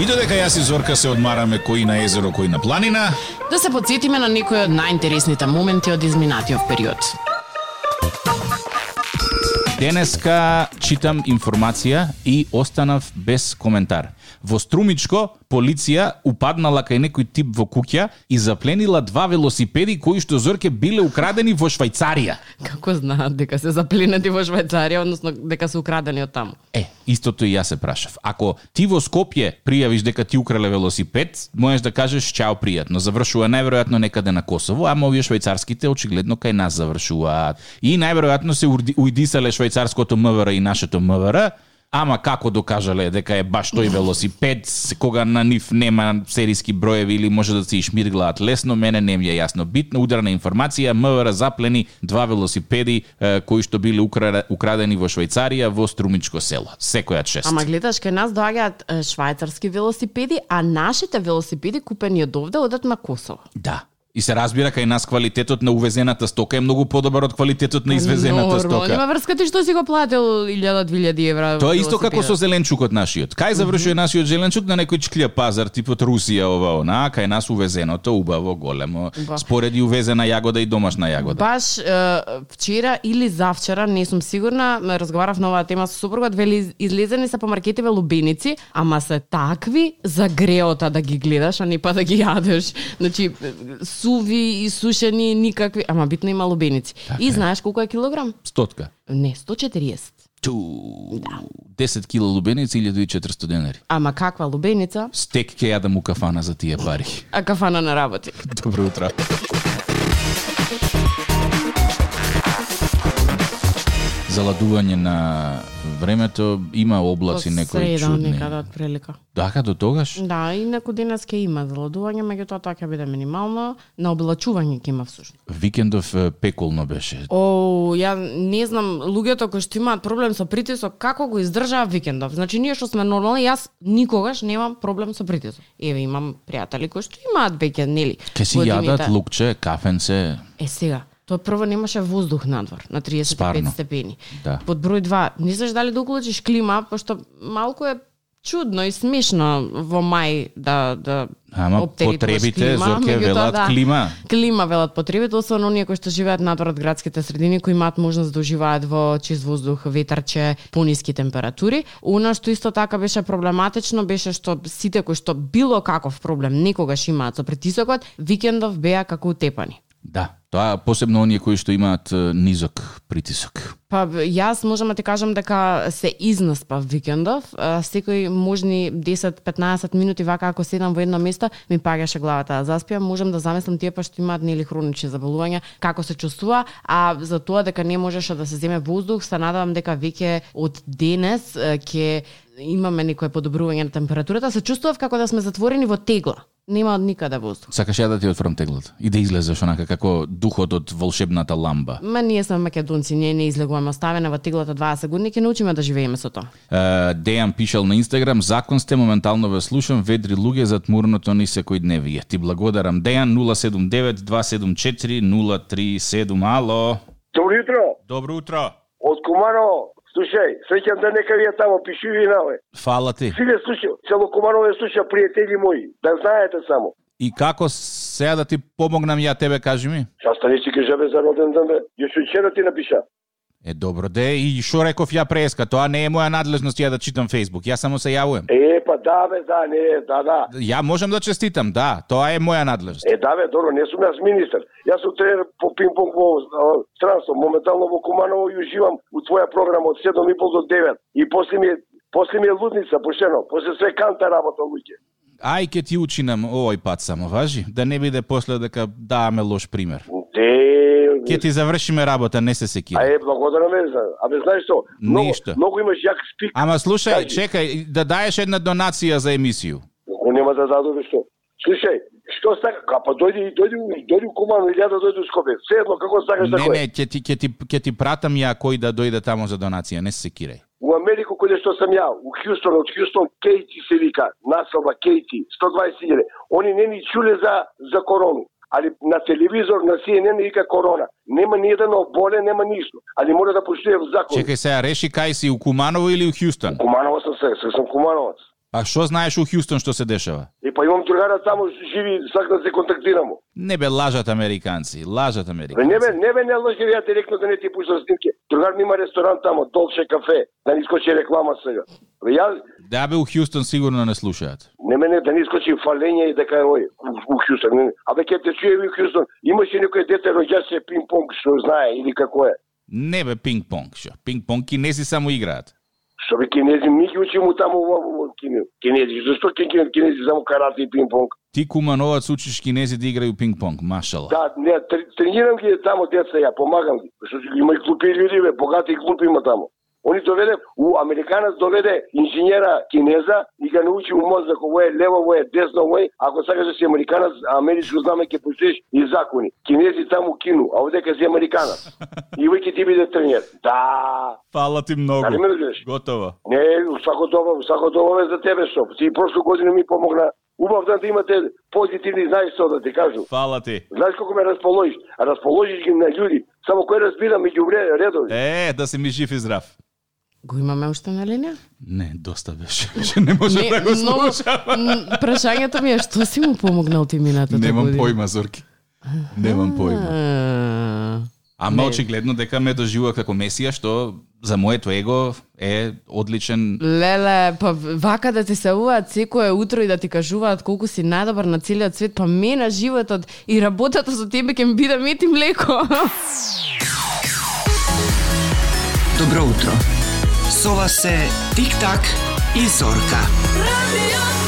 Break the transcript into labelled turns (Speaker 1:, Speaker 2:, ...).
Speaker 1: И додека јас и Зорка се одмараме кој на езеро, кој на планина,
Speaker 2: Да се подсетиме на некои од најинтересните моменти од изминатиот период.
Speaker 3: Денеска читам информација и останав без коментар. Во Струмичко, полиција упаднала кај некој тип во куќа и запленила два велосипеди кои што Зорке биле украдени во Швајцарија.
Speaker 2: Како знаат дека се запленати во Швајцарија, односно дека се украдени од таму?
Speaker 3: Е, истото и јас се прашав. Ако ти во Скопје пријавиш дека ти украле велосипед, можеш да кажеш чао пријатно. Завршува најверојатно некаде на Косово, ама овие швајцарските очигледно кај нас завршуваат. И најверојатно се урди- уидисале швајцарското МВР и нашето МВР, Ама како докажале дека е баш тој велосипед, кога на нив нема сериски броеви или може да се ишмирглаат лесно, мене не ми е јасно. Битна ударна информација, МВР заплени два велосипеди е, кои што биле укра- украдени во Швајцарија во Струмичко село. Секојат шест.
Speaker 2: Ама гледаш, кај нас доаѓаат е, швајцарски велосипеди, а нашите велосипеди купени од овде одат на Косово.
Speaker 3: Да. И се разбира кај нас квалитетот на увезената стока е многу подобар од квалитетот на извезената
Speaker 2: Нормално,
Speaker 3: стока.
Speaker 2: има врска ти што си го платил 1000-2000 евра.
Speaker 3: Тоа е исто како со
Speaker 2: велосипедот.
Speaker 3: зеленчукот нашиот. Кај завршува нашиот зеленчук на некој чклија пазар типот Русија ова она, кај нас увезеното убаво големо.
Speaker 2: Ба.
Speaker 3: Спореди увезена јагода и домашна јагода.
Speaker 2: Баш е, вчера или завчера, не сум сигурна, ме разговарав на оваа тема со супругот, вели из- излезени се по маркетиве лубеници, ама се такви за греота да ги гледаш, а не па да ги јадеш. Значи е, суви и сушени никакви, ама битно има лубеници.
Speaker 3: Така
Speaker 2: и знаеш колку е килограм?
Speaker 3: Стотка.
Speaker 2: Не, 140.
Speaker 3: Ту. 10 кило лубеници 1400 денари.
Speaker 2: Ама каква лубеница?
Speaker 3: Стек ќе јадам у кафана за тие пари.
Speaker 2: А кафана на работи.
Speaker 3: Добро утро. Заладување на времето има облаци некои
Speaker 2: Среда
Speaker 3: чудни.
Speaker 2: некада да, од прилика.
Speaker 3: Така до тогаш?
Speaker 2: Да, и некој денес ќе има заладување, меѓутоа тоа ќе биде минимално, на облачување ќе има всушност.
Speaker 3: Викендов е, пеколно беше.
Speaker 2: О, ја не знам, луѓето кои што имаат проблем со притисок, како го издржаа викендов. Значи, ние што сме нормални, јас никогаш немам проблем со притисок. Еве, имам пријатели кои што имаат веќе, нели?
Speaker 3: Ке си
Speaker 2: годините.
Speaker 3: јадат лукче, кафенце.
Speaker 2: Е, сега, тоа прво немаше воздух надвор на 35
Speaker 3: Спарно.
Speaker 2: степени.
Speaker 3: Да.
Speaker 2: Под број 2, не знаеш дали да уклучиш клима, пошто малку е чудно и смешно во мај да да
Speaker 3: Ама
Speaker 2: оптеритуваш
Speaker 3: потребите,
Speaker 2: клима,
Speaker 3: зорке
Speaker 2: меѓутоа,
Speaker 3: велат
Speaker 2: да,
Speaker 3: клима.
Speaker 2: Клима велат потребите, особено оние кои што живеат надвор од градските средини, кои имаат можност да уживаат во чист воздух, ветарче, пониски температури. Она што исто така беше проблематично беше што сите кои што било каков проблем некогаш имаат со притисокот, викендов беа како утепани.
Speaker 3: Да, тоа посебно оние кои што имаат е, низок притисок.
Speaker 2: Па б- јас можам да ти кажам дека се изнаспав викендов, а, секој можни 10-15 минути вака ако седам во едно место, ми паѓаше главата да заспиам, можам да замислам тие па што имаат нели хронични заболувања, како се чувствува, а за тоа дека не можеше да се земе воздух, се надевам дека веќе од денес е, ќе имаме некое подобрување на температурата, се чувствував како да сме затворени во тегла. Нема од никаде воздух.
Speaker 3: Сакаш ја да ти отфрам теглот и да излезеш онака како духот од волшебната ламба.
Speaker 2: Ма ние сме македонци, ние не излегуваме, оставена во теглата 20 години, ќе научиме да живееме со тоа.
Speaker 3: Е, Дејан пишал на Инстаграм, закон сте, моментално ве слушам, ведри луѓе зад мурното ни секој дневие. Ти благодарам, Дејан, 079-274-037, ало.
Speaker 4: Добро утро,
Speaker 3: Добро утро.
Speaker 4: од Куманово. Слушај, среќам да нека вие тамо пишувинале.
Speaker 3: Фала ти.
Speaker 4: Силе слуша, цело Куманово ја слуша, пријатели мои, да знаете само.
Speaker 3: И како сега да ти помогнам ја тебе, кажи ми?
Speaker 4: Шаста стани си кажа бе за роден ден бе, јас вчера ти напиша.
Speaker 3: Е, добро, де, и шо реков ја преска, тоа не е моја надлежност ја да читам Фейсбук, ја само се јавувам.
Speaker 4: Е, па да бе, да, не, да, да.
Speaker 3: Ја можам да честитам, да, тоа е моја надлежност.
Speaker 4: Е, да бе, добро, не сум јас министер. Јас сум тренер по пинг-понг во а, странство. Моментално во Куманово и уживам у твоја програма од 7.30 до 9. И после ми е, после ми е лудница, пошено. После све канта работа луѓе.
Speaker 3: Ај ке ти учинам овој пат само, важи, да не биде после дека даваме лош пример.
Speaker 4: Де...
Speaker 3: Ке ти завршиме работа, не се секира.
Speaker 4: А е, благодарам за... Абе, знаеш што? Много,
Speaker 3: Ништо.
Speaker 4: Много имаш јак спик.
Speaker 3: Ама слушај,
Speaker 4: Кажи.
Speaker 3: чекај, да даеш една донација за емисију.
Speaker 4: Ако нема да даду бе што. Слушај, што сака? Ка, па дојди, дојди, у- дојди у Куманово или ја да дојди у Скопје. Се едно, како сакаш
Speaker 3: Не,
Speaker 4: да кој.
Speaker 3: не, ќе ти ќе ти ќе ти пратам ја кој да дојде тамо за донација, не се секирај.
Speaker 4: У Америку каде што сам ја, у Хјустон, од Хјустон Кейти се вика, населба Кейти, 120.000. Они не ни чуле за за корону. Али на телевизор на CNN вика корона. Нема ни еден оболе, нема ништо. Али мора да поштуе закон.
Speaker 3: Чекај сега, реши кај си у Куманово или у Хјустон?
Speaker 4: Куманово сам се, се сам Кумановац.
Speaker 3: А што знаеш у Хјустон што се дешава?
Speaker 4: И па имам другара таму живи, сакам да се контактирам.
Speaker 3: Не бе лажат американци, лажат
Speaker 4: Бе,
Speaker 3: американци.
Speaker 4: Не бе, не бе, не лъжи, ја директно да не ти пуштам снимки. Другар ми има ресторант тамо, Долче кафе, да не искочи реклама сега. Бе, ја,
Speaker 3: Да бе, у Хјустон сигурно не слушаат.
Speaker 4: не мене да не искочи фалење и дека е ој, у, у Хјустон. Не, не. Абе, ке те чуе ви у Хјустон, имаше некој дете роѓаше пинг-понг, што знае или како е.
Speaker 3: Не бе, пинг-понг, шо. Пинг-понг кинези само играат.
Speaker 4: Што бе кинези, ми ги учимо таму во, во кинези. Кинези, зашто ке кинези, кинези само карате и пинг-понг?
Speaker 3: Ти кумановац учиш кинези да играју пинг-понг, машала.
Speaker 4: Да, не, тр- тренирам ги тамо деца, ја помагам ги. Што ги- има и глупи луѓе, бе, богати и глупи има тамо. Они доведе, у Американец доведе инженера кинеза и ga научи у мозок, ово е лево, ово е десно, ово е, ако сакаш да си Американец, америчко знаме ќе почуеш и закони. Кинези таму кину, а овде ка си Американец. И веќе ти биде тренер. Да,
Speaker 3: Фала ти многу.
Speaker 4: Дали ме разбираш?
Speaker 3: Готово.
Speaker 4: Не, свако добро, свако добро е за тебе што. Ти прошло година ми помогна. Убав ден да имате позитивни, знаеш што да ти кажам.
Speaker 3: Фала ти.
Speaker 4: Знаеш колку ме расположиш? А расположиш ги на људи. Само кој разбира меѓу вре- редови.
Speaker 3: Е, да си ми жив и здрав.
Speaker 2: Го имаме уште на линија?
Speaker 3: Не, доста беше. Ше не можам да го
Speaker 2: многу-
Speaker 3: слушам.
Speaker 2: м, прашањето ми е што си му помогнал ти минатата
Speaker 3: Немам
Speaker 2: година?
Speaker 3: појма, Зорки. Немам појма.
Speaker 2: појма.
Speaker 3: Ама
Speaker 2: Не.
Speaker 3: очигледно дека ме доживува како месија, што за моето его е одличен
Speaker 2: Леле, па вака да ти се уваат секое утро и да ти кажуваат колку си најдобар на целиот свет, па мена животот и работата со тебе ќе ми биде мет и млеко.
Speaker 5: Добро утро. Сова се Тик-так и Зорка.
Speaker 6: Radio